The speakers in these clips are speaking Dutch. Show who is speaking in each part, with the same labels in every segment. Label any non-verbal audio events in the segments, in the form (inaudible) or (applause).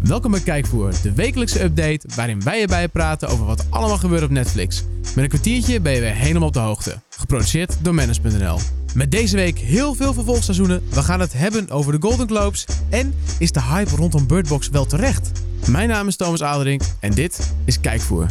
Speaker 1: Welkom bij Kijkvoer, de wekelijkse update waarin wij erbij praten over wat allemaal gebeurt op Netflix. Met een kwartiertje ben je weer helemaal op de hoogte. Geproduceerd door Manage.nl. Met deze week heel veel vervolgseizoenen. We gaan het hebben over de Golden Globes. En is de hype rondom Bird Box wel terecht? Mijn naam is Thomas Aderink en dit is Kijkvoer.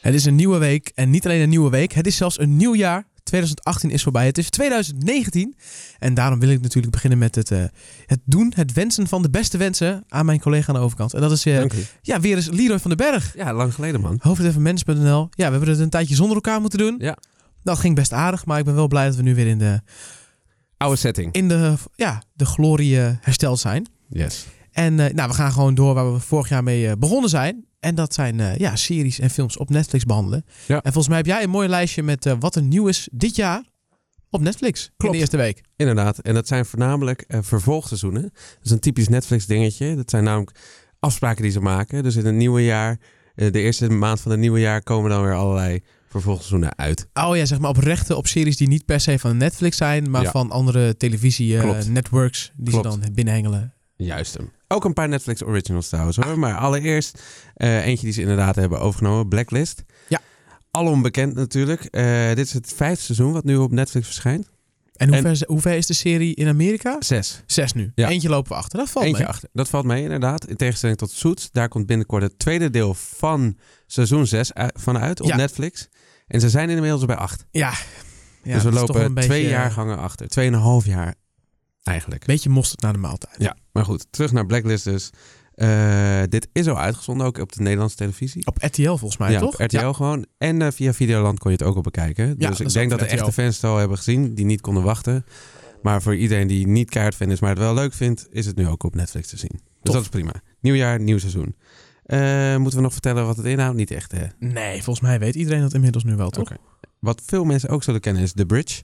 Speaker 1: Het is een nieuwe week en niet alleen een nieuwe week, het is zelfs een nieuw jaar. 2018 is voorbij, het is 2019 en daarom wil ik natuurlijk beginnen met het, eh, het doen, het wensen van de beste wensen aan mijn collega aan de overkant. En dat is eh,
Speaker 2: Dank u.
Speaker 1: ja, weer eens Leroy van den Berg,
Speaker 2: Ja, lang geleden man.
Speaker 1: hoofdredacteur Ja, we hebben het een tijdje zonder elkaar moeten doen.
Speaker 2: Ja.
Speaker 1: Dat ging best aardig, maar ik ben wel blij dat we nu weer in de,
Speaker 2: Oude setting.
Speaker 1: in de, ja, de glorie eh, hersteld zijn.
Speaker 2: Yes.
Speaker 1: En eh, nou, we gaan gewoon door waar we vorig jaar mee eh, begonnen zijn. En dat zijn eh, ja, series en films op Netflix behandelen.
Speaker 2: Ja.
Speaker 1: En volgens mij heb jij een mooi lijstje met eh, wat er nieuw is dit jaar op Netflix. In
Speaker 2: Klopt.
Speaker 1: de eerste week.
Speaker 2: Inderdaad. En dat zijn voornamelijk eh, vervolgseizoenen. Dat is een typisch Netflix dingetje. Dat zijn namelijk afspraken die ze maken. Dus in het nieuwe jaar, eh, de eerste maand van het nieuwe jaar, komen dan weer allerlei vervolgseizoenen uit.
Speaker 1: Oh ja, zeg maar op rechten op series die niet per se van Netflix zijn, maar
Speaker 2: Ja.
Speaker 1: van andere
Speaker 2: Klopt.
Speaker 1: televisie-networks die ze
Speaker 2: Klopt.
Speaker 1: dan binnenhengelen.
Speaker 2: Juist hem. Ook een paar Netflix originals trouwens hoor. Maar allereerst eh, eentje die ze inderdaad hebben overgenomen, Blacklist.
Speaker 1: Ja.
Speaker 2: Alom bekend natuurlijk. Eh, dit is het vijfde seizoen wat nu op Netflix verschijnt.
Speaker 1: En hoe,
Speaker 2: En-
Speaker 1: ver, hoe ver is de serie in Amerika?
Speaker 2: Zes.
Speaker 1: Zes nu.
Speaker 2: Ja.
Speaker 1: Eentje lopen we achter. Dat valt
Speaker 2: Eentje
Speaker 1: mee.
Speaker 2: achter. Dat valt mee, inderdaad. In tegenstelling tot Soets. Daar komt binnenkort het tweede deel van seizoen 6 van uit op
Speaker 1: Ja.
Speaker 2: Netflix. En ze zijn inmiddels bij acht.
Speaker 1: Ja. ja.
Speaker 2: dus we
Speaker 1: dat is toch
Speaker 2: lopen
Speaker 1: een
Speaker 2: twee
Speaker 1: beetje,
Speaker 2: jaar gangen achter. Tweeënhalf jaar eigenlijk.
Speaker 1: Beetje mosterd naar de maaltijd.
Speaker 2: Ja, maar goed. Terug naar Blacklist dus. Eh, dit is al uitgezonden, ook op de Nederlandse televisie.
Speaker 1: Op RTL volgens mij,
Speaker 2: ja,
Speaker 1: toch?
Speaker 2: op RTL
Speaker 1: Ja.
Speaker 2: gewoon. En eh, via Videoland kon je het ook al bekijken.
Speaker 1: dat
Speaker 2: dus
Speaker 1: is
Speaker 2: ik
Speaker 1: ook
Speaker 2: denk
Speaker 1: van
Speaker 2: dat
Speaker 1: RTL.
Speaker 2: de echte fans het al hebben gezien, die niet konden wachten. Maar voor iedereen die niet kaartfan is, maar het wel leuk vindt, is het nu ook op Netflix te zien. Dus
Speaker 1: Tof.
Speaker 2: dat is prima. Nieuw jaar, nieuw seizoen. Eh, moeten we nog vertellen wat het inhoudt? Niet echt, hè?
Speaker 1: Nee, volgens mij weet iedereen dat inmiddels nu wel, toch?
Speaker 2: Oké. Wat veel mensen ook zullen kennen is The Bridge.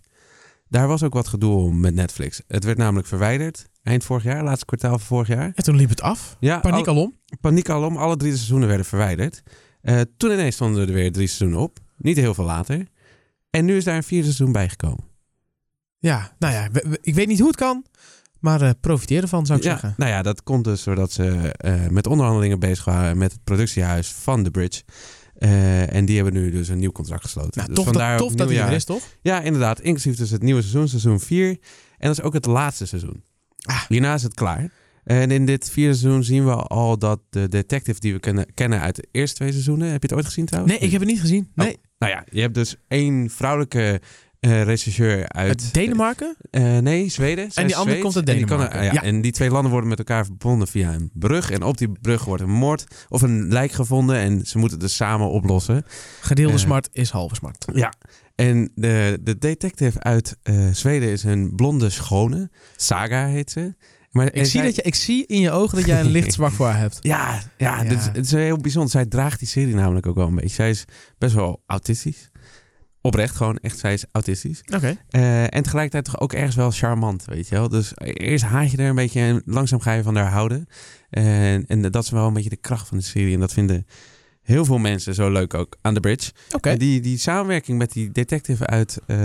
Speaker 2: Daar was ook wat gedoe om met Netflix. Het werd namelijk verwijderd eind vorig jaar, laatste kwartaal van vorig jaar.
Speaker 1: En toen liep het af.
Speaker 2: Ja,
Speaker 1: Paniek alom.
Speaker 2: paniek alom. Alle drie de seizoenen werden verwijderd. Eh, toen ineens stonden er weer drie seizoenen op. Niet heel veel later. En nu is daar een vierde seizoen bijgekomen.
Speaker 1: Ja, nou ja, we- we- ik weet niet hoe het kan, maar eh profiteer ervan, zou ik
Speaker 2: ja,
Speaker 1: zeggen.
Speaker 2: Nou ja, dat komt dus doordat ze eh, met onderhandelingen bezig waren met het productiehuis van The Bridge. Eh, en die hebben nu dus een nieuw contract gesloten.
Speaker 1: Nou,
Speaker 2: dus
Speaker 1: tof
Speaker 2: vandaar
Speaker 1: dat,
Speaker 2: ook
Speaker 1: tof dat hij
Speaker 2: nieuwjaar-
Speaker 1: er is, toch?
Speaker 2: Ja, inderdaad. Inclusief dus het nieuwe seizoen, seizoen 4. En dat is ook het laatste seizoen.
Speaker 1: Ah.
Speaker 2: Hierna is het klaar. En in dit vierde seizoen zien we al dat de detective die we kennen, kennen uit de eerste twee seizoenen. Heb je het ooit gezien trouwens?
Speaker 1: Nee, ik heb het niet gezien. Nee,
Speaker 2: Nou ja, je hebt dus één vrouwelijke eh regisseur uit...
Speaker 1: uit Denemarken?
Speaker 2: Eh, nee, Zweden. Zij
Speaker 1: die
Speaker 2: is
Speaker 1: andere
Speaker 2: Zweeds.
Speaker 1: komt uit
Speaker 2: En die kan-
Speaker 1: Denemarken.
Speaker 2: ja,
Speaker 1: Ja.
Speaker 2: En die twee landen worden met elkaar verbonden via een brug. En op die brug wordt een moord of een lijk gevonden. En ze moeten het dus samen oplossen.
Speaker 1: Gedeelde
Speaker 2: Eh.
Speaker 1: smart is halve smart.
Speaker 2: Ja. En de, de detective uit eh, Zweden is een blonde schone. Saga heet ze. Maar
Speaker 1: Ik zie, dat je, ik zie in je ogen dat jij een licht zwak voor haar
Speaker 2: (laughs)
Speaker 1: hebt.
Speaker 2: Ja, ja,
Speaker 1: Ja.
Speaker 2: Dit is, het is heel bijzonder. Zij draagt die serie namelijk ook wel een beetje. Zij is best wel autistisch. Oprecht gewoon, echt, zij is autistisch.
Speaker 1: Oké.
Speaker 2: Eh, en tegelijkertijd toch ook ergens wel charmant, weet je wel. Dus eerst haat je er een beetje en langzaam ga je van haar houden. En, en dat is wel een beetje de kracht van de serie. En dat vinden heel veel mensen zo leuk ook aan The Bridge.
Speaker 1: Oké.
Speaker 2: En Die, die samenwerking met die detective uit eh,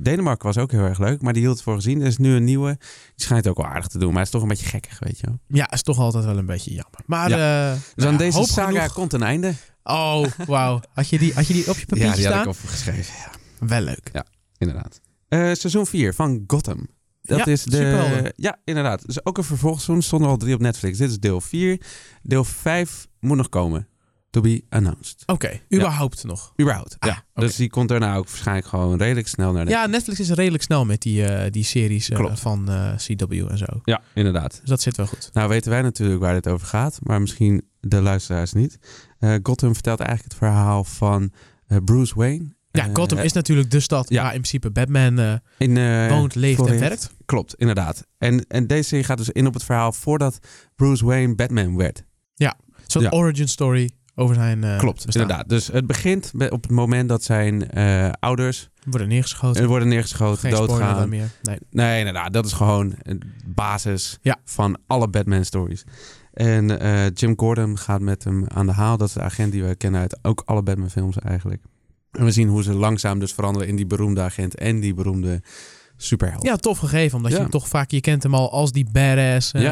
Speaker 2: Denemarken was ook heel erg leuk. Maar die hield het voor gezien. Er is nu een nieuwe. Die schijnt het ook wel aardig te doen. Maar hij is toch een beetje gekkig, weet je wel.
Speaker 1: Ja, is toch altijd wel een beetje jammer. Maar
Speaker 2: Ja.
Speaker 1: eh, nou
Speaker 2: Dus
Speaker 1: ja,
Speaker 2: aan deze
Speaker 1: hoop
Speaker 2: saga
Speaker 1: genoeg.
Speaker 2: komt een einde.
Speaker 1: Oh, wauw. Had, je die- had je die op je papiertje staan?
Speaker 2: al geschreven.
Speaker 1: Wel leuk.
Speaker 2: Inderdaad. Eh, seizoen 4 van Gotham. Dat
Speaker 1: Ja,
Speaker 2: is de.
Speaker 1: superhelden.
Speaker 2: Ja, inderdaad. Dus ook een vervolgseizoen. Stonden al drie op Netflix. Dit is deel 4. Deel 5 moet nog komen. To be announced.
Speaker 1: Oké, überhaupt nog.
Speaker 2: Überhaupt.
Speaker 1: Ah,
Speaker 2: ja.
Speaker 1: oké.
Speaker 2: Dus die komt daarna ook waarschijnlijk gewoon redelijk snel naar de.
Speaker 1: Ja, Netflix is redelijk snel met die, eh, die series eh,
Speaker 2: Klopt.
Speaker 1: van eh, CW en zo.
Speaker 2: ja, inderdaad.
Speaker 1: Dus dat zit wel goed.
Speaker 2: Nou weten wij natuurlijk waar dit over gaat, maar misschien de luisteraars niet. Eh, Gotham vertelt eigenlijk het verhaal van eh, Bruce Wayne.
Speaker 1: Ja,
Speaker 2: Eh,
Speaker 1: Gotham is natuurlijk de stad
Speaker 2: ja.
Speaker 1: waar in principe Batman eh,
Speaker 2: in, eh,
Speaker 1: woont, leeft en
Speaker 2: Florida.
Speaker 1: werkt.
Speaker 2: Klopt, inderdaad. En, en deze serie gaat dus in op het verhaal voordat Bruce Wayne Batman werd.
Speaker 1: Een soort
Speaker 2: Ja.
Speaker 1: origin story over zijn eh
Speaker 2: Klopt,
Speaker 1: bestaan.
Speaker 2: inderdaad. Dus het begint met- op het moment dat zijn eh, ouders
Speaker 1: Worden neergeschoten.
Speaker 2: eh, worden neergeschoten,
Speaker 1: Geen spoiler dan
Speaker 2: doodgaan.
Speaker 1: meer. Nee.
Speaker 2: Nee, inderdaad. Dat is gewoon een basis
Speaker 1: Ja.
Speaker 2: van alle Batman-stories. En eh, Jim Gordon gaat met hem aan de haal. Dat is de agent die we kennen uit ook alle Batman films eigenlijk. En we zien hoe ze langzaam dus veranderen in die beroemde agent en die beroemde superheld.
Speaker 1: Ja, tof gegeven, omdat je
Speaker 2: Ja.
Speaker 1: hem toch vaak, je kent hem al als die badass, eh,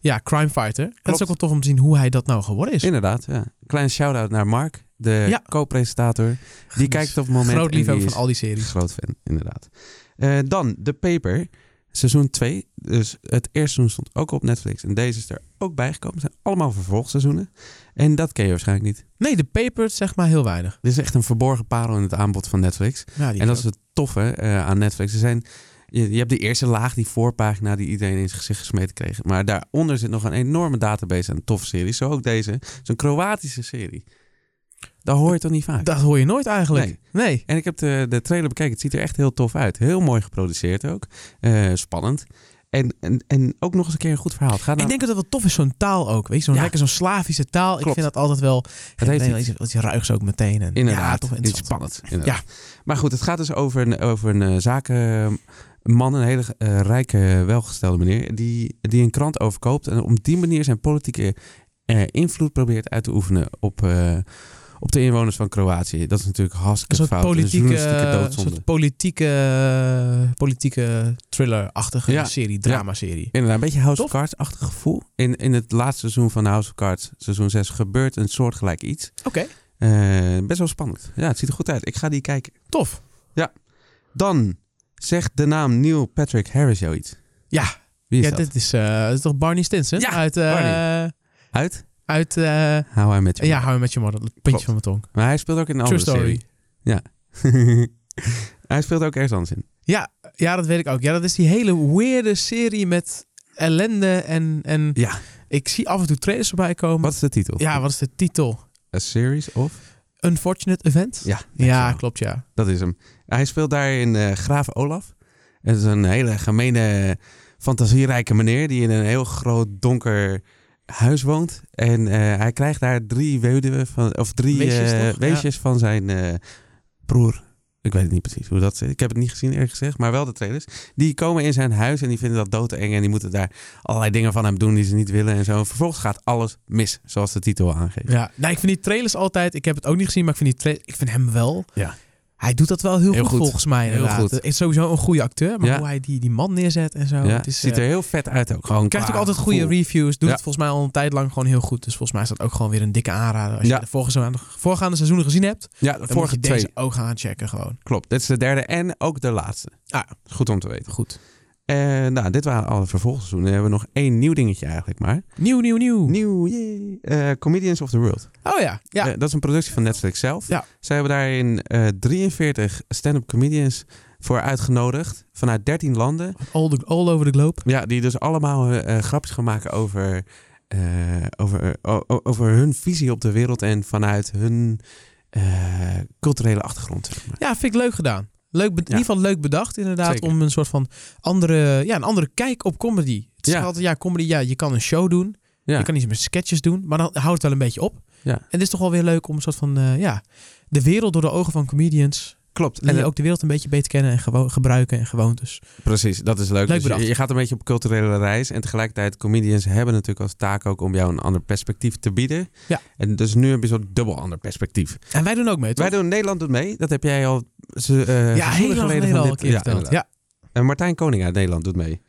Speaker 1: ja, crime fighter. Dat is
Speaker 2: Klopt.
Speaker 1: ook wel tof om te zien hoe hij dat nou geworden is.
Speaker 2: Inderdaad, ja. Klein shout-out naar Mark, de
Speaker 1: Ja.
Speaker 2: co-presentator. Die kijkt op het moment... en
Speaker 1: Groot
Speaker 2: die
Speaker 1: liefhebber
Speaker 2: is-
Speaker 1: van al die series.
Speaker 2: Groot fan, inderdaad. Eh, dan The Paper, seizoen 2. Dus het eerste seizoen stond ook op Netflix. En deze is er ook bijgekomen. Het zijn allemaal vervolgseizoenen. En dat ken je waarschijnlijk niet.
Speaker 1: Nee, de paper zegt maar heel weinig.
Speaker 2: Dit is echt een verborgen parel in het aanbod van Netflix.
Speaker 1: Ja, die
Speaker 2: En dat
Speaker 1: ook.
Speaker 2: is het toffe eh, aan Netflix. Er zijn, je, je hebt die eerste laag, die voorpagina die iedereen in zijn gezicht gesmeten kreeg. Maar daaronder zit nog een enorme database aan toffe series. Zo ook deze. Zo'n Kroatische serie. Dat hoor je toch niet vaak?
Speaker 1: dat hoor je nooit eigenlijk. Nee.
Speaker 2: Nee. En ik heb de, de trailer bekeken. Het ziet er echt heel tof uit. Heel mooi geproduceerd ook. Eh, spannend. En, en, en ook nog eens een keer een goed verhaal. Het gaat
Speaker 1: Ik
Speaker 2: nou-
Speaker 1: denk dat het wel tof is, zo'n taal ook. Weet je, zo'n
Speaker 2: Ja.
Speaker 1: lekker zo'n Slavische taal. Ik
Speaker 2: Klopt.
Speaker 1: vind dat altijd wel. Het
Speaker 2: heeft
Speaker 1: heeft
Speaker 2: iets.
Speaker 1: iets, iets ruigs ook meteen. En,
Speaker 2: Inderdaad,
Speaker 1: ja, toch wel
Speaker 2: iets
Speaker 1: interessant.
Speaker 2: spannend. inderdaad. Maar goed, het gaat dus over een, over een eh, zakenman, een hele eh, rijke, welgestelde meneer, die, die een krant overkoopt en op die manier zijn politieke eh, invloed probeert uit te oefenen op, eh, op de inwoners van Kroatië. Dat is natuurlijk hartstikke
Speaker 1: Een soort
Speaker 2: fout.
Speaker 1: politieke, eh,
Speaker 2: een journalistieke
Speaker 1: een
Speaker 2: doodzonde.
Speaker 1: soort politieke, politieke thriller-achtige
Speaker 2: Ja.
Speaker 1: serie, drama-serie.
Speaker 2: Inderdaad, een beetje House
Speaker 1: Tof.
Speaker 2: of Cards-achtig gevoel. In, in het laatste seizoen van House of Cards, seizoen 6, gebeurt een soortgelijk iets.
Speaker 1: Oké,
Speaker 2: Eh, best wel spannend. Ja, het ziet er goed uit. Ik ga die kijken.
Speaker 1: tof.
Speaker 2: Dan zegt de naam Neil Patrick Harris jou iets.
Speaker 1: Ja.
Speaker 2: Wie is
Speaker 1: Ja,
Speaker 2: dat?
Speaker 1: dit is, eh, dat is toch Barney Stinson?
Speaker 2: Ja,
Speaker 1: uit, eh,
Speaker 2: Barney. Uit?
Speaker 1: uit eh,
Speaker 2: How I Met Your
Speaker 1: ja,
Speaker 2: Mother.
Speaker 1: hou je met je moeder, dat puntje
Speaker 2: Klopt.
Speaker 1: van mijn tong.
Speaker 2: Maar hij speelt ook in een
Speaker 1: True
Speaker 2: andere
Speaker 1: story.
Speaker 2: serie. (laughs) hij speelt ook ergens anders in.
Speaker 1: Ja, dat weet ik ook. Ja, dat is die hele weirde serie met ellende en, en
Speaker 2: Ja.
Speaker 1: ik zie af en toe trailers voorbij komen.
Speaker 2: Wat is de titel?
Speaker 1: Ja, wat is de titel?
Speaker 2: A Series of?
Speaker 1: Unfortunate Event?
Speaker 2: Ja,
Speaker 1: Ja,
Speaker 2: dankjewel.
Speaker 1: klopt, ja.
Speaker 2: dat is hem. Hij speelt daarin eh Graaf Olaf. Het is een hele gemene, fantasierijke meneer die in een heel groot, donker huis woont. En eh, hij krijgt daar drie weduwen van, of drie
Speaker 1: Weesjes,
Speaker 2: eh,
Speaker 1: toch?
Speaker 2: weesjes van zijn eh, broer. Ik weet het niet precies hoe dat zit. Ik heb het niet gezien, eerlijk gezegd, maar wel de trailers. Die komen in zijn huis en die vinden dat doodeng. En die moeten daar allerlei dingen van hem doen die ze niet willen en zo. Vervolgens gaat alles mis, zoals de titel aangeeft.
Speaker 1: ja. Nou, ik vind die trailers altijd, ik heb het ook niet gezien, maar ik vind, die tra- ik vind hem wel.
Speaker 2: Ja.
Speaker 1: Hij doet dat wel heel,
Speaker 2: Heel
Speaker 1: goed,
Speaker 2: goed.
Speaker 1: volgens mij
Speaker 2: Heel
Speaker 1: inderdaad.
Speaker 2: goed.
Speaker 1: Het is sowieso een goede acteur, maar
Speaker 2: Ja.
Speaker 1: hoe hij die, die man neerzet en zo.
Speaker 2: Ja,
Speaker 1: het is,
Speaker 2: ziet er
Speaker 1: eh,
Speaker 2: heel vet uit ook. Gewoon
Speaker 1: krijgt ook
Speaker 2: qua
Speaker 1: altijd goede
Speaker 2: gevoel.
Speaker 1: reviews. Doet
Speaker 2: Ja.
Speaker 1: het volgens mij al een tijd lang gewoon heel goed. Dus volgens mij is dat ook gewoon weer een dikke aanrader. Als
Speaker 2: Ja.
Speaker 1: je de vorige, voorgaande seizoenen gezien hebt,
Speaker 2: Ja,
Speaker 1: dan Vorige
Speaker 2: de vorige
Speaker 1: moet je deze
Speaker 2: twee.
Speaker 1: ook gaan checken gewoon.
Speaker 2: Klopt. Dit is de derde en ook de laatste.
Speaker 1: Ah.
Speaker 2: Goed om te weten.
Speaker 1: Goed.
Speaker 2: En nou, dit waren alle vervolgseizoenen. Dan hebben we nog één nieuw dingetje eigenlijk maar.
Speaker 1: Nieuw, nieuw, nieuw.
Speaker 2: Nieuw, yay. Eh, Comedians of the World.
Speaker 1: Oh ja, ja.
Speaker 2: Eh, dat is een productie van Netflix zelf.
Speaker 1: Ja.
Speaker 2: Zij hebben daarin eh, 43 stand-up comedians voor uitgenodigd. Vanuit 13 landen.
Speaker 1: All, the- all over the globe.
Speaker 2: Ja, die dus allemaal eh, eh, grapjes gaan maken over, eh, over, o- o- over hun visie op de wereld. En vanuit hun eh, culturele achtergrond. Zeg maar.
Speaker 1: Ja, vind ik leuk gedaan. Leuk be-
Speaker 2: Ja.
Speaker 1: In ieder geval leuk bedacht inderdaad.
Speaker 2: Zeker.
Speaker 1: Om een soort van andere, ja, een andere kijk op comedy. Het is
Speaker 2: Ja.
Speaker 1: altijd, ja, comedy, ja, je kan een show doen.
Speaker 2: Ja.
Speaker 1: Je kan iets met sketches doen. Maar dan houdt het wel een beetje op.
Speaker 2: Ja.
Speaker 1: En het is toch wel weer leuk om een soort van, eh, ja, de wereld door de ogen van comedians.
Speaker 2: Klopt.
Speaker 1: En
Speaker 2: En
Speaker 1: ook de wereld een beetje beter kennen en gewo- gebruiken en gewoontes.
Speaker 2: Precies, dat is leuk.
Speaker 1: Leuk
Speaker 2: Dus je-
Speaker 1: bedacht.
Speaker 2: je gaat een beetje op culturele reis. En tegelijkertijd, comedians hebben natuurlijk als taak ook om jou een ander perspectief te bieden.
Speaker 1: Ja.
Speaker 2: En dus nu heb je zo'n dubbel ander perspectief.
Speaker 1: En wij doen ook mee, toch?
Speaker 2: Wij doen Nederland doet mee. Dat heb jij al ze, eh,
Speaker 1: ja, heel
Speaker 2: seizoenen
Speaker 1: lang
Speaker 2: geleden
Speaker 1: geleden
Speaker 2: van
Speaker 1: al een
Speaker 2: dit-
Speaker 1: keer
Speaker 2: ja,
Speaker 1: verteld.
Speaker 2: inderdaad.
Speaker 1: Ja,
Speaker 2: En Martijn Koning uit Nederland doet mee.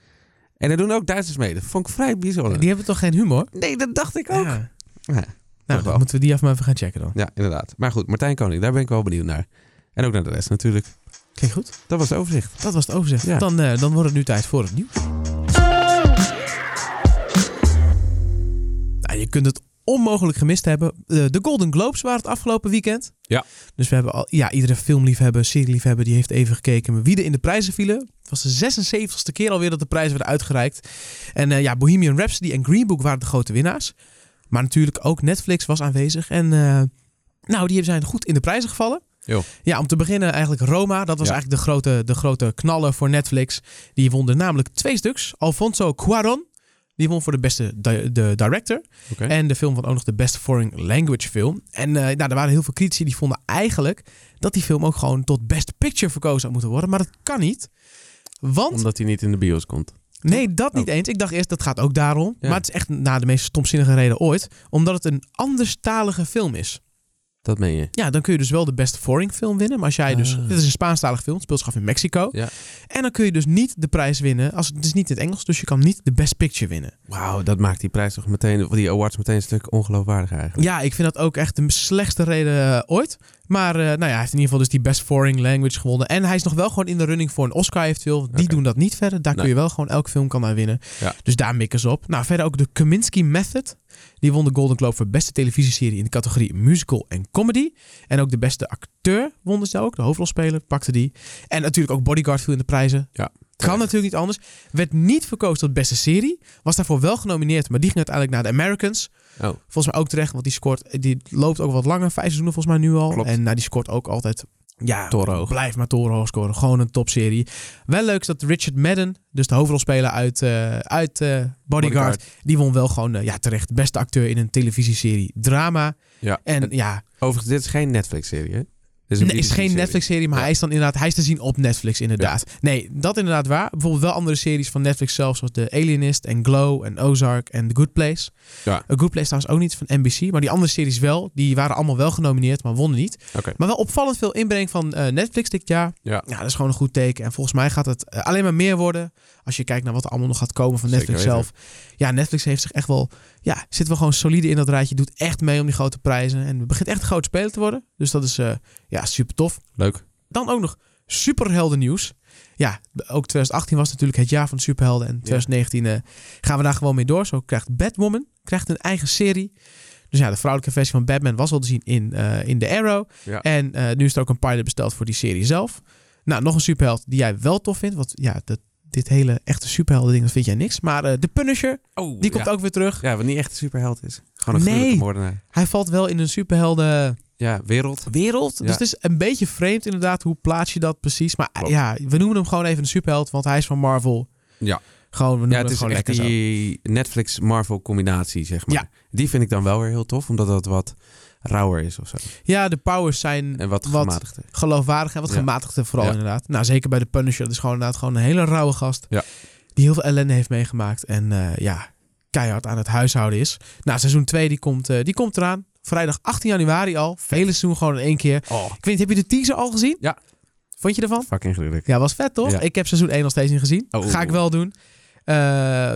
Speaker 2: En er doen ook Duitsers mee. Dat vond ik vrij bijzonder.
Speaker 1: die hebben toch geen humor?
Speaker 2: Nee, dat dacht ik ook. Ja.
Speaker 1: Ja. Nou,
Speaker 2: Toch wel.
Speaker 1: dan moeten we die af maar even gaan checken dan.
Speaker 2: inderdaad. Maar goed, Martijn Koning, daar ben ik wel benieuwd naar. En ook naar de rest natuurlijk.
Speaker 1: Klinkt goed.
Speaker 2: Dat was het overzicht.
Speaker 1: Dat was het overzicht.
Speaker 2: Ja.
Speaker 1: Dan, eh, dan wordt het nu tijd voor het nieuws. Nou, je kunt het onmogelijk gemist hebben. Eh, De Golden Globes waren het afgelopen weekend.
Speaker 2: Ja.
Speaker 1: Dus we hebben al, ja, iedere filmliefhebber, serieliefhebber, die heeft even gekeken wie er in de prijzen vielen. Het was de 76ste keer alweer dat de prijzen werden uitgereikt. En eh, ja, Bohemian Rhapsody en Green Book waren de grote winnaars. Maar natuurlijk ook Netflix was aanwezig. En eh, nou, die zijn goed in de prijzen gevallen.
Speaker 2: Jo.
Speaker 1: Ja, om te beginnen eigenlijk Roma. Dat was
Speaker 2: Ja.
Speaker 1: eigenlijk de grote, de grote knaller voor Netflix. Die wonnen namelijk twee stuks. Alfonso Cuaron, die won voor de beste di- de director.
Speaker 2: Oké.
Speaker 1: En de film van ook nog de best foreign language film. En eh, nou, er waren heel veel critici die vonden eigenlijk dat die film ook gewoon tot best picture verkozen had moeten worden. Maar dat kan niet. Want
Speaker 2: Omdat hij niet in de bios komt.
Speaker 1: Nee, dat niet eens. Ik dacht eerst, dat gaat ook daarom.
Speaker 2: Oh. Ja.
Speaker 1: Maar het is echt na de meest stomzinnige reden ooit. Omdat het een anderstalige film is.
Speaker 2: Dat meen je.
Speaker 1: Ja, dan kun je dus wel de beste foreign film winnen. Maar als jij dus...
Speaker 2: Ah.
Speaker 1: Dit is een Spaanstalige film. Het speelt zich af in Mexico.
Speaker 2: Ja.
Speaker 1: En dan kun je dus niet de prijs winnen. Als, het is niet in het Engels, dus je kan niet de best picture winnen.
Speaker 2: Wauw, dat maakt die prijs toch meteen, of die awards meteen een stuk ongeloofwaardig eigenlijk.
Speaker 1: Ja, ik vind dat ook echt de slechtste reden eh, ooit. Maar eh, nou ja, hij heeft in ieder geval dus die Best Foreign Language gewonnen. En hij is nog wel gewoon in de running voor een Oscar eventueel. Die
Speaker 2: Oké.
Speaker 1: doen dat niet verder. Daar kun
Speaker 2: Nee.
Speaker 1: je wel gewoon elke film kan daar winnen.
Speaker 2: Ja.
Speaker 1: Dus daar mikken ze op. Nou, verder ook de Kaminsky Method. Die won de Golden Globe voor beste televisieserie in de categorie musical en comedy. En ook de beste acteur wonnen ze ook. De hoofdrolspeler pakte die. En natuurlijk ook Bodyguard viel in de prijzen.
Speaker 2: Ja,
Speaker 1: Kan natuurlijk niet anders. Werd niet verkozen tot beste serie. Was daarvoor wel genomineerd, maar die ging uiteindelijk naar de Americans.
Speaker 2: Oh,
Speaker 1: Volgens mij ook terecht, want die scoort, die loopt ook wat langer, vijf seizoenen volgens mij nu al.
Speaker 2: Klopt.
Speaker 1: En nou, die scoort ook altijd, ja,
Speaker 2: Torenhoog.
Speaker 1: blijf maar torenhoog scoren. Gewoon een topserie. Wel leuk is dat Richard Madden, dus de hoofdrolspeler uit, eh, uit eh, Bodyguard, die won wel gewoon, eh, ja, terecht, beste acteur in een televisieserie drama.
Speaker 2: Ja.
Speaker 1: En ja,
Speaker 2: Overigens, dit is geen Netflix-serie, hè? Dit is, een
Speaker 1: nee, is geen
Speaker 2: BBC-serie.
Speaker 1: Netflix-serie, maar
Speaker 2: Ja.
Speaker 1: hij is dan inderdaad, hij is te zien op Netflix inderdaad. Nee, dat inderdaad waar. Bijvoorbeeld wel andere series van Netflix zelf, zoals The Alienist en Glow en Ozark en The Good Place.
Speaker 2: Ja.
Speaker 1: A Good Place trouwens ook niet van NBC, maar die andere series wel. Die waren allemaal wel genomineerd, maar wonnen niet.
Speaker 2: Oké.
Speaker 1: Maar wel opvallend veel inbreng van eh, Netflix dit jaar.
Speaker 2: Ja.
Speaker 1: dat is gewoon een goed teken. En volgens mij gaat het eh, alleen maar meer worden als je kijkt naar wat er allemaal nog gaat komen van
Speaker 2: Zeker
Speaker 1: Netflix
Speaker 2: weten.
Speaker 1: zelf. Ja, Netflix heeft zich echt wel, ja, zit wel gewoon solide in dat rijtje. Doet echt mee om die grote prijzen en begint echt een groot speler te worden. Dus dat is, eh, ja, super tof.
Speaker 2: Leuk.
Speaker 1: Dan ook nog superhelden nieuws. Ja, ook 2018 was natuurlijk het jaar van de superhelden. En 2019 eh, gaan we daar gewoon mee door. Zo krijgt Batwoman krijgt een eigen serie. Dus ja, de vrouwelijke versie van Batman was al te zien in, eh, in The Arrow.
Speaker 2: Ja.
Speaker 1: En eh, nu is er ook een pilot besteld voor die serie zelf. Nou, nog een superheld die jij wel tof vindt. Want ja, dat, dit hele echte superhelden ding, dat vind jij niks. Maar eh, de Punisher,
Speaker 2: Oh,
Speaker 1: die
Speaker 2: ja.
Speaker 1: komt ook weer terug.
Speaker 2: Ja, wat niet echt een superheld is. Gewoon een
Speaker 1: Nee.
Speaker 2: gruwelijke moordenaar.
Speaker 1: Hij valt wel in een superhelden...
Speaker 2: Ja, wereld.
Speaker 1: wereld.
Speaker 2: Ja.
Speaker 1: Dus het is een beetje vreemd inderdaad. Hoe plaats je dat precies? Maar eh,
Speaker 2: Klopt.
Speaker 1: ja, we noemen hem gewoon even een superheld, want hij is van Marvel.
Speaker 2: Ja.
Speaker 1: Gewoon, we noemen
Speaker 2: Ja, het
Speaker 1: hem
Speaker 2: is
Speaker 1: gewoon
Speaker 2: echt
Speaker 1: lekker zo.
Speaker 2: die Netflix-Marvel combinatie, zeg maar.
Speaker 1: Ja.
Speaker 2: Die vind ik dan wel weer heel tof, omdat dat wat rauwer is of zo.
Speaker 1: Ja, de powers zijn
Speaker 2: En wat
Speaker 1: Wat-
Speaker 2: gematigder.
Speaker 1: geloofwaardig en wat
Speaker 2: Ja.
Speaker 1: gematigder vooral
Speaker 2: Ja.
Speaker 1: inderdaad. Nou, zeker bij de Punisher. Dat is gewoon inderdaad gewoon een hele rauwe gast.
Speaker 2: Ja.
Speaker 1: Die heel veel ellende heeft meegemaakt. En eh, ja, keihard aan het huishouden is. Nou, seizoen 2 die komt, eh, die komt eraan. Vrijdag 18 januari al. Vele seizoenen gewoon in één keer.
Speaker 2: Oh,
Speaker 1: Ik weet niet, heb je de teaser al gezien?
Speaker 2: Ja.
Speaker 1: Vond je ervan?
Speaker 2: fucking gruwelijk.
Speaker 1: Ja, was vet toch?
Speaker 2: Ja.
Speaker 1: Ik heb seizoen 1 nog steeds niet gezien.
Speaker 2: Oh.
Speaker 1: Ga ik wel doen. Eh,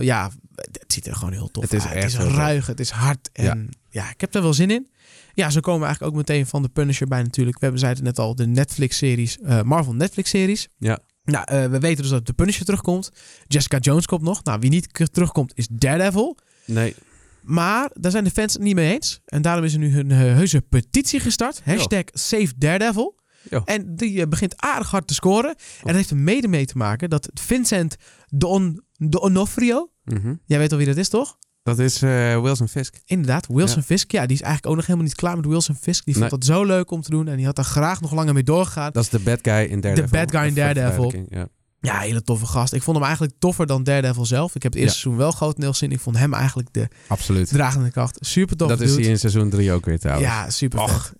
Speaker 1: ja, het ziet er gewoon heel tof
Speaker 2: Het is
Speaker 1: uit.
Speaker 2: echt
Speaker 1: het
Speaker 2: heel
Speaker 1: is
Speaker 2: tof.
Speaker 1: ruig, het is hard. En ja. ik heb er wel zin in. Ja, zo komen we eigenlijk ook meteen van de Punisher bij natuurlijk. We hebben, zeiden het net al, de Netflix-series, eh, Marvel Netflix-series.
Speaker 2: Ja.
Speaker 1: Nou, eh, we weten dus dat de Punisher terugkomt. Jessica Jones komt nog. Nou, wie niet k- terugkomt is Daredevil.
Speaker 2: Nee.
Speaker 1: Maar daar zijn de fans het niet mee eens. En daarom is er nu een eh, heuse petitie gestart. Hashtag Save Daredevil.
Speaker 2: Jo.
Speaker 1: En die eh, begint aardig hard te scoren. En dat heeft er mede mee te maken dat Vincent Don, de Onofrio...
Speaker 2: Mhm.
Speaker 1: Jij weet al wie dat is, toch?
Speaker 2: Dat is eh, Wilson Fisk.
Speaker 1: Inderdaad, Wilson Fisk. Ja, die is eigenlijk ook nog helemaal niet klaar met Wilson Fisk. Die vond
Speaker 2: Nee.
Speaker 1: dat zo leuk om te doen. En die had daar graag nog langer mee doorgegaan.
Speaker 2: Dat is de bad guy in Daredevil.
Speaker 1: bad guy in
Speaker 2: Even voor
Speaker 1: Daredevil.
Speaker 2: verduidelijking, Ja.
Speaker 1: Ja, hele toffe gast. Ik vond hem eigenlijk toffer dan Daredevil zelf. Ik heb het eerste seizoen wel grotendeels zien. Ik vond hem eigenlijk de
Speaker 2: Absoluut.
Speaker 1: dragende kracht. Super tof
Speaker 2: dat is hij in seizoen 3 ook weer trouwens.
Speaker 1: Ja, super. vet.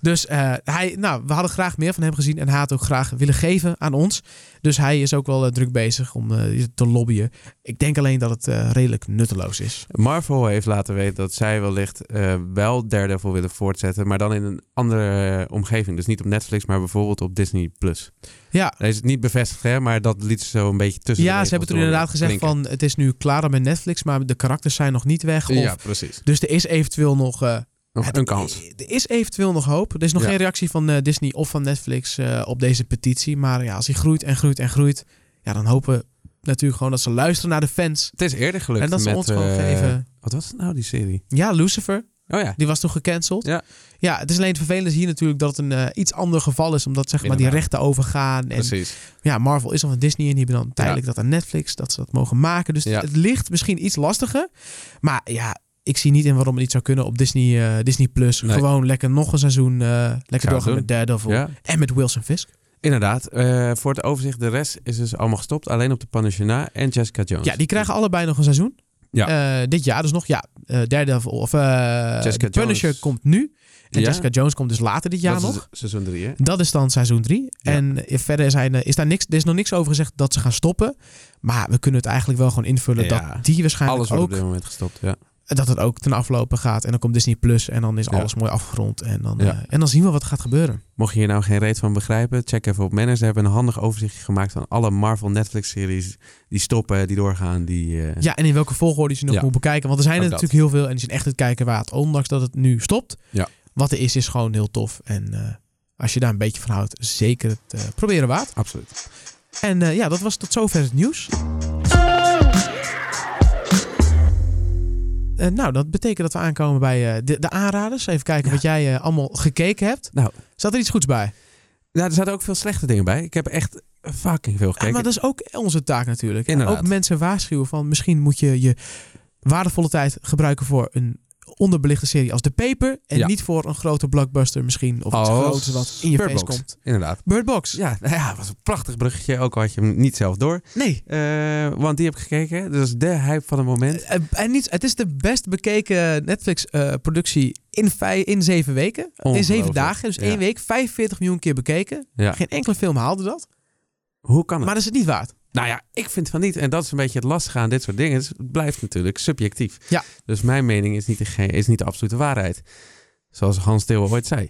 Speaker 1: Dus eh, hij, nou, we hadden graag meer van hem gezien en hij had ook graag willen geven aan ons. Dus hij is ook wel eh, druk bezig om eh, te lobbyen. Ik denk alleen dat het eh, redelijk nutteloos is.
Speaker 2: Marvel heeft laten weten dat zij wellicht eh wel Daredevil willen voortzetten, maar dan in een andere eh, omgeving. Dus niet op Netflix, maar bijvoorbeeld op Disney+. Plus.
Speaker 1: Ja,
Speaker 2: Dat is het niet bevestigd, hè, maar dat liet ze zo een beetje tussen de
Speaker 1: ja ze
Speaker 2: regels
Speaker 1: hebben toen
Speaker 2: door
Speaker 1: inderdaad gezegd
Speaker 2: klinken.
Speaker 1: van het is nu klaar met Netflix, maar de karakters zijn nog niet weg. Of,
Speaker 2: Ja, precies.
Speaker 1: Dus er is eventueel nog... eh,
Speaker 2: Nog
Speaker 1: het-
Speaker 2: een kans.
Speaker 1: Er is eventueel nog hoop. Er is nog
Speaker 2: Ja.
Speaker 1: geen reactie van eh, Disney of van Netflix eh, op deze petitie. Maar ja, als hij groeit en groeit en groeit, ja, dan hopen we natuurlijk gewoon dat ze luisteren naar de fans.
Speaker 2: Het is eerder gelukt
Speaker 1: en dat ze
Speaker 2: met,
Speaker 1: ons gewoon
Speaker 2: eh,
Speaker 1: geven.
Speaker 2: Wat was het nou, die serie?
Speaker 1: Ja, Lucifer.
Speaker 2: Oh ja.
Speaker 1: Die was toen gecanceld.
Speaker 2: Ja.
Speaker 1: ja, het is alleen het vervelende is hier natuurlijk dat het een eh, iets ander geval is. Omdat zeg maar, die
Speaker 2: Inderdaad.
Speaker 1: rechten overgaan. En
Speaker 2: Precies.
Speaker 1: ja, Marvel is al van Disney en die hebben dan tijdelijk dat aan Netflix. Dat ze dat mogen maken. Dus
Speaker 2: Ja.
Speaker 1: het ligt misschien iets lastiger. Maar ja, ik zie niet in waarom het niet zou kunnen op Disney, eh, Disney Plus.
Speaker 2: Nee.
Speaker 1: Gewoon lekker nog een seizoen. eh, lekker
Speaker 2: het
Speaker 1: doorgaan
Speaker 2: doen.
Speaker 1: met Daredevil.
Speaker 2: Ja, Oh,
Speaker 1: En met Wilson Fisk.
Speaker 2: inderdaad. Eh, voor het overzicht, de rest is dus allemaal gestopt. Alleen op de Punisher na en Jessica Jones.
Speaker 1: Ja, die krijgen allebei nog een seizoen.
Speaker 2: Ja.
Speaker 1: Eh, dit jaar dus nog. Ja, eh Daredevil of eh,
Speaker 2: Jessica
Speaker 1: The Punisher
Speaker 2: Jones.
Speaker 1: komt nu. En
Speaker 2: Ja.
Speaker 1: Jessica Jones komt dus later dit jaar
Speaker 2: Dat is
Speaker 1: nog.
Speaker 2: Seizoen 3, hè?
Speaker 1: Dat is dan seizoen 3.
Speaker 2: Ja.
Speaker 1: En verder zijn, eh, is daar niks, er is nog niks over gezegd dat ze gaan stoppen. Maar we kunnen het eigenlijk wel gewoon invullen
Speaker 2: Ja.
Speaker 1: dat die waarschijnlijk
Speaker 2: Alles wordt
Speaker 1: ook...
Speaker 2: op dit moment gestopt, ja.
Speaker 1: dat het ook ten aflopen gaat. En dan komt Disney Plus en dan is
Speaker 2: Ja.
Speaker 1: alles mooi afgerond. En dan,
Speaker 2: Ja.
Speaker 1: eh, en dan zien we wat er gaat gebeuren.
Speaker 2: Mocht je hier nou geen reet van begrijpen, check even op Manners. Ze hebben een handig overzichtje gemaakt van alle Marvel Netflix-series die stoppen, die doorgaan, die... eh,
Speaker 1: Ja, en in welke volgorde je ze nog
Speaker 2: Ja.
Speaker 1: moet bekijken. Want er zijn er
Speaker 2: Ook dat.
Speaker 1: natuurlijk heel veel en die zijn echt het kijken waard. Ondanks dat het nu stopt.
Speaker 2: Ja.
Speaker 1: Wat er is, is gewoon heel tof. En eh, als je daar een beetje van houdt, zeker het eh, proberen waard.
Speaker 2: Absoluut.
Speaker 1: En eh, ja, dat was tot zover het nieuws. Eh, nou, dat betekent dat we aankomen bij eh, de, de aanraders. Even kijken
Speaker 2: Ja.
Speaker 1: wat jij eh, allemaal gekeken hebt.
Speaker 2: Nou.
Speaker 1: Zat er iets goeds bij?
Speaker 2: Nou, er zaten ook veel slechte dingen bij. Ik heb echt fucking veel gekeken.
Speaker 1: Ja, maar dat is ook onze taak natuurlijk.
Speaker 2: Inderdaad.
Speaker 1: Ook mensen waarschuwen van misschien moet je je waardevolle tijd gebruiken voor een onderbelichte serie als The Paper. En
Speaker 2: Ja.
Speaker 1: niet voor een grote blockbuster misschien. Of iets
Speaker 2: Als
Speaker 1: groots wat in je
Speaker 2: Bird
Speaker 1: face
Speaker 2: Box.
Speaker 1: komt.
Speaker 2: Inderdaad.
Speaker 1: Bird Box.
Speaker 2: Ja, nou ja, was een prachtig bruggetje, ook al had je hem niet zelf door.
Speaker 1: Nee.
Speaker 2: Eh, want die heb ik gekeken. Dat is de hype van het moment.
Speaker 1: Eh, En niet, het is de best bekeken Netflix-productie in, vij- in zeven weken. In zeven
Speaker 2: Ongelooflijk.
Speaker 1: dagen. Dus
Speaker 2: Ja.
Speaker 1: één week. 45 miljoen keer bekeken.
Speaker 2: Ja.
Speaker 1: Geen enkele film haalde dat.
Speaker 2: Hoe kan het?
Speaker 1: Maar dat is het niet waard.
Speaker 2: Nou ja, ik vind van niet. En dat is een beetje het lastige aan dit soort dingen. Dus het blijft natuurlijk subjectief.
Speaker 1: Ja.
Speaker 2: Dus mijn mening is niet, de, ge- is niet de absolute waarheid. Zoals Hans Theo ooit zei.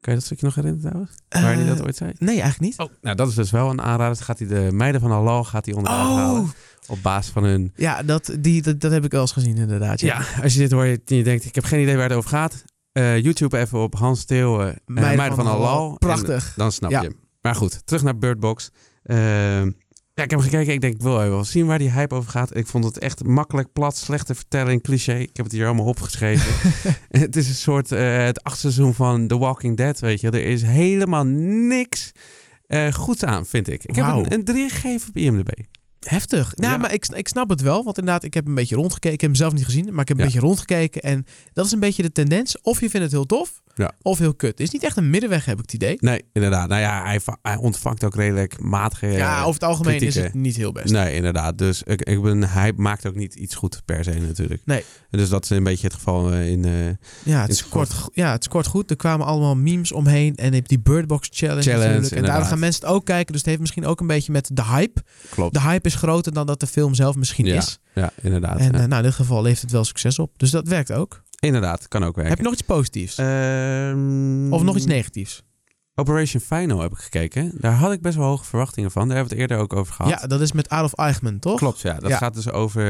Speaker 2: Kan je dat stukje nog herinneren trouwens? Waar hij
Speaker 1: Eh,
Speaker 2: dat ooit zei?
Speaker 1: Nee, eigenlijk niet.
Speaker 2: Oh, nou dat is dus wel een aanrader. Dus gaat hij de meiden van Halal gaat hij onderuit halen.
Speaker 1: Oh,
Speaker 2: Op basis van hun...
Speaker 1: ja, dat, die, dat, dat heb ik wel eens gezien inderdaad.
Speaker 2: Ja, als je dit hoort en je denkt, ik heb geen idee waar het over gaat. eh, YouTube even op Hans Theo, eh, eh, meiden, van, Halal. En
Speaker 1: Prachtig.
Speaker 2: dan snap
Speaker 1: Ja.
Speaker 2: je hem. Maar goed, terug naar Bird Box. Ehm, ja, ik heb hem gekeken. Ik denk, ik wil even wel zien waar die hype over gaat. Ik vond het echt makkelijk, plat, slechte vertelling, cliché. Ik heb het hier allemaal
Speaker 1: (laughs)
Speaker 2: opgeschreven. het is een soort eh, het achtste seizoen van The Walking Dead, weet je. Er is helemaal niks goed goeds aan, vind ik. Ik
Speaker 1: Wauw.
Speaker 2: heb een, een 3 gegeven op IMDb.
Speaker 1: Heftig. Nou,
Speaker 2: Ja.
Speaker 1: maar ik, ik snap het wel. Want inderdaad, ik heb een beetje rondgekeken. Ik heb hem zelf niet gezien, maar ik heb een
Speaker 2: Ja.
Speaker 1: beetje rondgekeken. En dat is een beetje de tendens. Of je vindt het heel tof,
Speaker 2: Ja.
Speaker 1: of heel kut. Het is niet echt een middenweg, heb ik het idee.
Speaker 2: Nee, inderdaad. Nou ja, hij, va- hij ontvangt ook redelijk matige...
Speaker 1: Ja, over het algemeen is
Speaker 2: kritiek,
Speaker 1: het niet heel best.
Speaker 2: Nee, inderdaad. Dus ik, ik ben, hij maakt ook niet iets goed per se natuurlijk.
Speaker 1: Nee.
Speaker 2: Dus dat is een beetje het geval eh, in... eh,
Speaker 1: Ja, het
Speaker 2: Het
Speaker 1: is
Speaker 2: is
Speaker 1: kort, go- ja, het is kort goed. Er kwamen allemaal memes omheen. En je hebt die Bird Box Challenge,
Speaker 2: Challenge,
Speaker 1: natuurlijk. En daardoor
Speaker 2: inderdaad.
Speaker 1: gaan mensen het ook kijken. Dus het heeft misschien ook een beetje met de hype.
Speaker 2: Klopt.
Speaker 1: De hype is groter dan dat de film zelf misschien
Speaker 2: ja,
Speaker 1: is.
Speaker 2: ja, inderdaad.
Speaker 1: En
Speaker 2: Ja.
Speaker 1: eh, nou, in dit geval levert het wel succes op. Dus dat werkt ook.
Speaker 2: Inderdaad, kan ook werken.
Speaker 1: Heb je nog iets positiefs?
Speaker 2: Ehm,
Speaker 1: of nog iets negatiefs?
Speaker 2: Operation Final heb ik gekeken. Daar had ik best wel hoge verwachtingen van. Daar hebben we het eerder ook over gehad.
Speaker 1: Ja, dat is met Adolf Eichmann, toch?
Speaker 2: Klopt, ja. Dat
Speaker 1: Ja.
Speaker 2: gaat dus over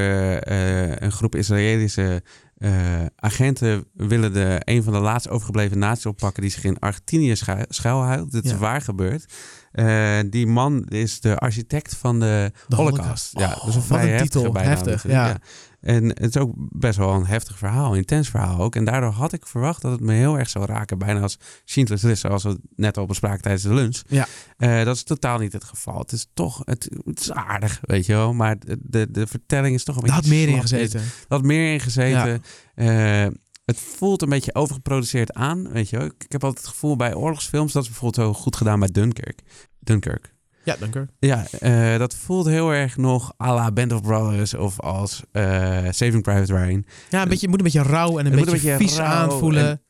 Speaker 2: eh, een groep Israëlische eh, agenten willen de, een van de laatst overgebleven naties oppakken die zich in Argentinië schu- schuilhoudt. Dit
Speaker 1: Ja.
Speaker 2: is waar gebeurd. Eh, die man is de architect van de,
Speaker 1: De
Speaker 2: Holocaust. Ja,
Speaker 1: Oh,
Speaker 2: dat is een
Speaker 1: wat
Speaker 2: vrij heftige
Speaker 1: titel.
Speaker 2: bijnaam
Speaker 1: Heftig,
Speaker 2: natuurlijk,
Speaker 1: ja.
Speaker 2: En het is ook best wel een heftig verhaal, een intens verhaal ook. En daardoor had ik verwacht dat het me heel erg zou raken. Bijna als Schindler's List, zoals we het net al bespraken tijdens de lunch.
Speaker 1: Ja.
Speaker 2: Eh, dat is totaal niet het geval. Het is toch, het, het is aardig, weet je wel. Maar de, de, de vertelling is toch een
Speaker 1: Daar
Speaker 2: beetje
Speaker 1: had meer in
Speaker 2: slap.
Speaker 1: gezeten.
Speaker 2: Er had meer in gezeten.
Speaker 1: Ja.
Speaker 2: Eh, het voelt een beetje overgeproduceerd aan, weet je wel. Ik, ik heb altijd het gevoel bij oorlogsfilms, dat is bijvoorbeeld zo goed gedaan bij Dunkirk. Dunkirk.
Speaker 1: Ja, dank u.
Speaker 2: Ja, eh, dat voelt heel erg nog à la Band of Brothers of als eh, Saving Private Ryan.
Speaker 1: Ja, een beetje, je moet een beetje rauw en een
Speaker 2: Dus Het moet
Speaker 1: beetje,
Speaker 2: een beetje
Speaker 1: vies
Speaker 2: rauw
Speaker 1: aanvoelen.
Speaker 2: en-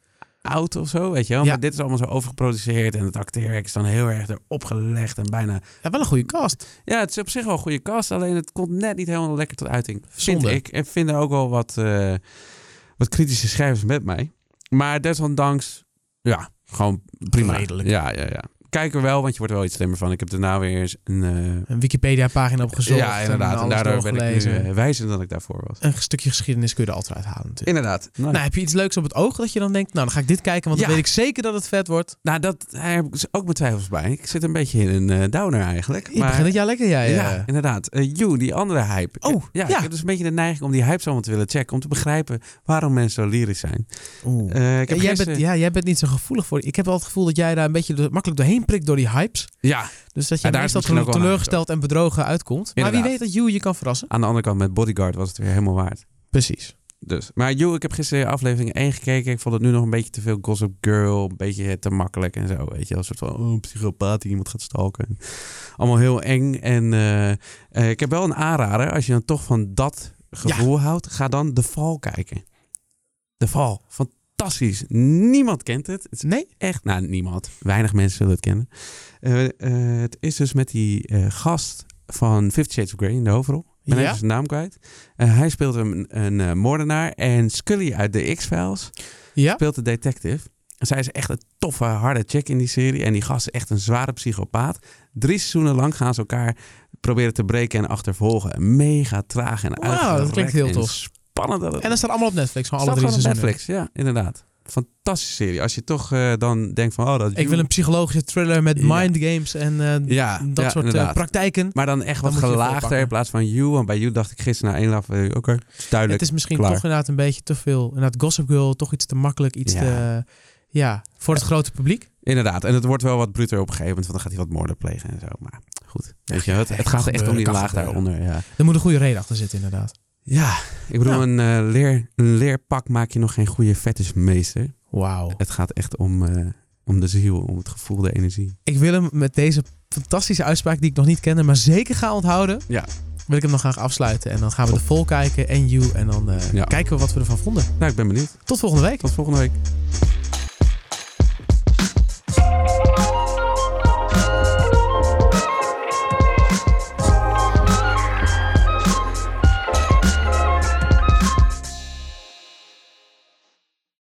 Speaker 2: Oud of zo, weet je wel.
Speaker 1: Ja.
Speaker 2: Maar dit is allemaal zo overgeproduceerd en het acteerwerk is dan heel erg erop gelegd en bijna...
Speaker 1: Ja, wel een goede cast.
Speaker 2: Ja, het is op zich wel een goede kast, alleen het komt net niet helemaal lekker tot uiting. Vind
Speaker 1: Zonde.
Speaker 2: ik. En vinden ook wel wat, eh, wat kritische schrijvers met mij. Maar desondanks, ja, gewoon prima.
Speaker 1: Redelijk.
Speaker 2: Ja, ja, ja. Kijk er wel, want je wordt er wel iets slimmer van. Ik heb daarna weer eens een... eh,
Speaker 1: Een Wikipedia-pagina opgezocht.
Speaker 2: ja, inderdaad. En,
Speaker 1: alles
Speaker 2: daardoor ben ik nu,
Speaker 1: doorgelezen.
Speaker 2: eh, wijzer dan ik daarvoor was.
Speaker 1: Een stukje geschiedenis kun je er altijd uithalen natuurlijk.
Speaker 2: Inderdaad. Nou,
Speaker 1: Nou, heb je iets leuks op het oog dat je dan denkt... nou, dan ga ik dit kijken, want dan
Speaker 2: Ja.
Speaker 1: weet ik zeker dat het vet wordt.
Speaker 2: nou, dat, daar heb ik dus ook mijn twijfels bij. Ik zit een beetje in een eh, downer eigenlijk.
Speaker 1: Je begint het jaar lekker, jij. eh.
Speaker 2: ja, inderdaad. Eh, you, die andere hype.
Speaker 1: Oh,
Speaker 2: ja,
Speaker 1: ja.
Speaker 2: Ik heb dus een beetje de neiging om die hypes allemaal te willen checken. Om te begrijpen waarom mensen zo lyrisch zijn.
Speaker 1: Oeh.
Speaker 2: Eh, ik heb
Speaker 1: jij,
Speaker 2: gisteren-
Speaker 1: bent, ja, jij bent niet zo gevoelig voor... Ik heb wel het gevoel dat jij daar een beetje door- makkelijk doorheen prikt door die hypes.
Speaker 2: ja,
Speaker 1: Dus dat je
Speaker 2: Ja, daar
Speaker 1: meestal
Speaker 2: is misschien ook wel een
Speaker 1: teleurgesteld en bedrogen uitkomt. Maar wie
Speaker 2: Inderdaad.
Speaker 1: weet dat Joe je kan verrassen.
Speaker 2: aan de andere kant met Bodyguard was het weer helemaal waard.
Speaker 1: Precies.
Speaker 2: Dus. Maar You, ik heb gisteren aflevering 1 gekeken. Ik vond het nu nog een beetje te veel Gossip Girl. Een beetje te makkelijk en zo. Weet je, wel. een soort van oh, een psychopaat die iemand gaat stalken. Allemaal heel eng. En eh, eh, ik heb wel een aanrader. Als je dan toch van dat gevoel houdt, ga dan De Val kijken. De Val. fantastisch. Niemand kent het. Het is
Speaker 1: Nee?
Speaker 2: echt, nou niemand. Weinig mensen zullen het kennen. Eh, eh, het is dus met die eh, gast van Fifty Shades of Grey in de hoofdrol. Ik ben
Speaker 1: Ja?
Speaker 2: even zijn naam kwijt. Eh, hij speelt een, een eh, moordenaar. En Scully uit de X-Files
Speaker 1: Ja?
Speaker 2: speelt de detective. En zij is echt een toffe, harde chick in die serie. En die gast is echt een zware psychopaat. Drie seizoenen lang gaan ze elkaar proberen te breken en achtervolgen. Mega traag en
Speaker 1: Wauw, dat
Speaker 2: uitgerekt
Speaker 1: klinkt heel
Speaker 2: en
Speaker 1: tof.
Speaker 2: Spannend. dat het
Speaker 1: En dat staat allemaal op Netflix, gewoon alle
Speaker 2: Staat
Speaker 1: drie
Speaker 2: gewoon op
Speaker 1: seizoenen.
Speaker 2: Netflix, ja, inderdaad. Fantastische serie. Als je toch eh, dan denkt van, oh, dat
Speaker 1: Ik wil een psychologische thriller met
Speaker 2: Ja.
Speaker 1: mind games en eh,
Speaker 2: ja,
Speaker 1: dat
Speaker 2: ja,
Speaker 1: soort eh,
Speaker 2: inderdaad.
Speaker 1: praktijken.
Speaker 2: Maar dan echt
Speaker 1: Dan
Speaker 2: wat
Speaker 1: moet je het
Speaker 2: gelaagder
Speaker 1: oppakken.
Speaker 2: in plaats van You. Want bij You dacht ik gisteren na één af, eh, oké, het is duidelijk.
Speaker 1: Het is misschien
Speaker 2: klaar.
Speaker 1: toch inderdaad een beetje te veel. Inderdaad, Gossip Girl, toch iets te makkelijk, iets
Speaker 2: Ja.
Speaker 1: te... Ja, voor het grote publiek.
Speaker 2: Inderdaad. En het wordt wel wat bruter op een gegeven moment, want dan gaat hij wat moorden plegen en zo. Maar goed, weet je, het,
Speaker 1: ja,
Speaker 2: het
Speaker 1: kan
Speaker 2: gaat echt om
Speaker 1: gebeuren,
Speaker 2: die
Speaker 1: kan
Speaker 2: laag
Speaker 1: gebeuren.
Speaker 2: daaronder. Ja,
Speaker 1: Er moet een goede reden achter zitten, inderdaad.
Speaker 2: ja ik bedoel,
Speaker 1: Ja.
Speaker 2: Een, eh, leer, een leerpak maak je nog geen goede fetishmeester.
Speaker 1: Wauw.
Speaker 2: Het gaat echt om, eh, om de ziel, om het gevoel, de energie.
Speaker 1: Ik wil hem met deze fantastische uitspraak die ik nog niet kende, maar zeker ga onthouden.
Speaker 2: Ja.
Speaker 1: Wil ik hem nog graag afsluiten. En dan gaan we de vol kijken en You. En dan eh,
Speaker 2: Ja.
Speaker 1: kijken we wat we ervan vonden.
Speaker 2: Nou, ik ben benieuwd.
Speaker 1: Tot volgende week.
Speaker 2: Tot volgende week.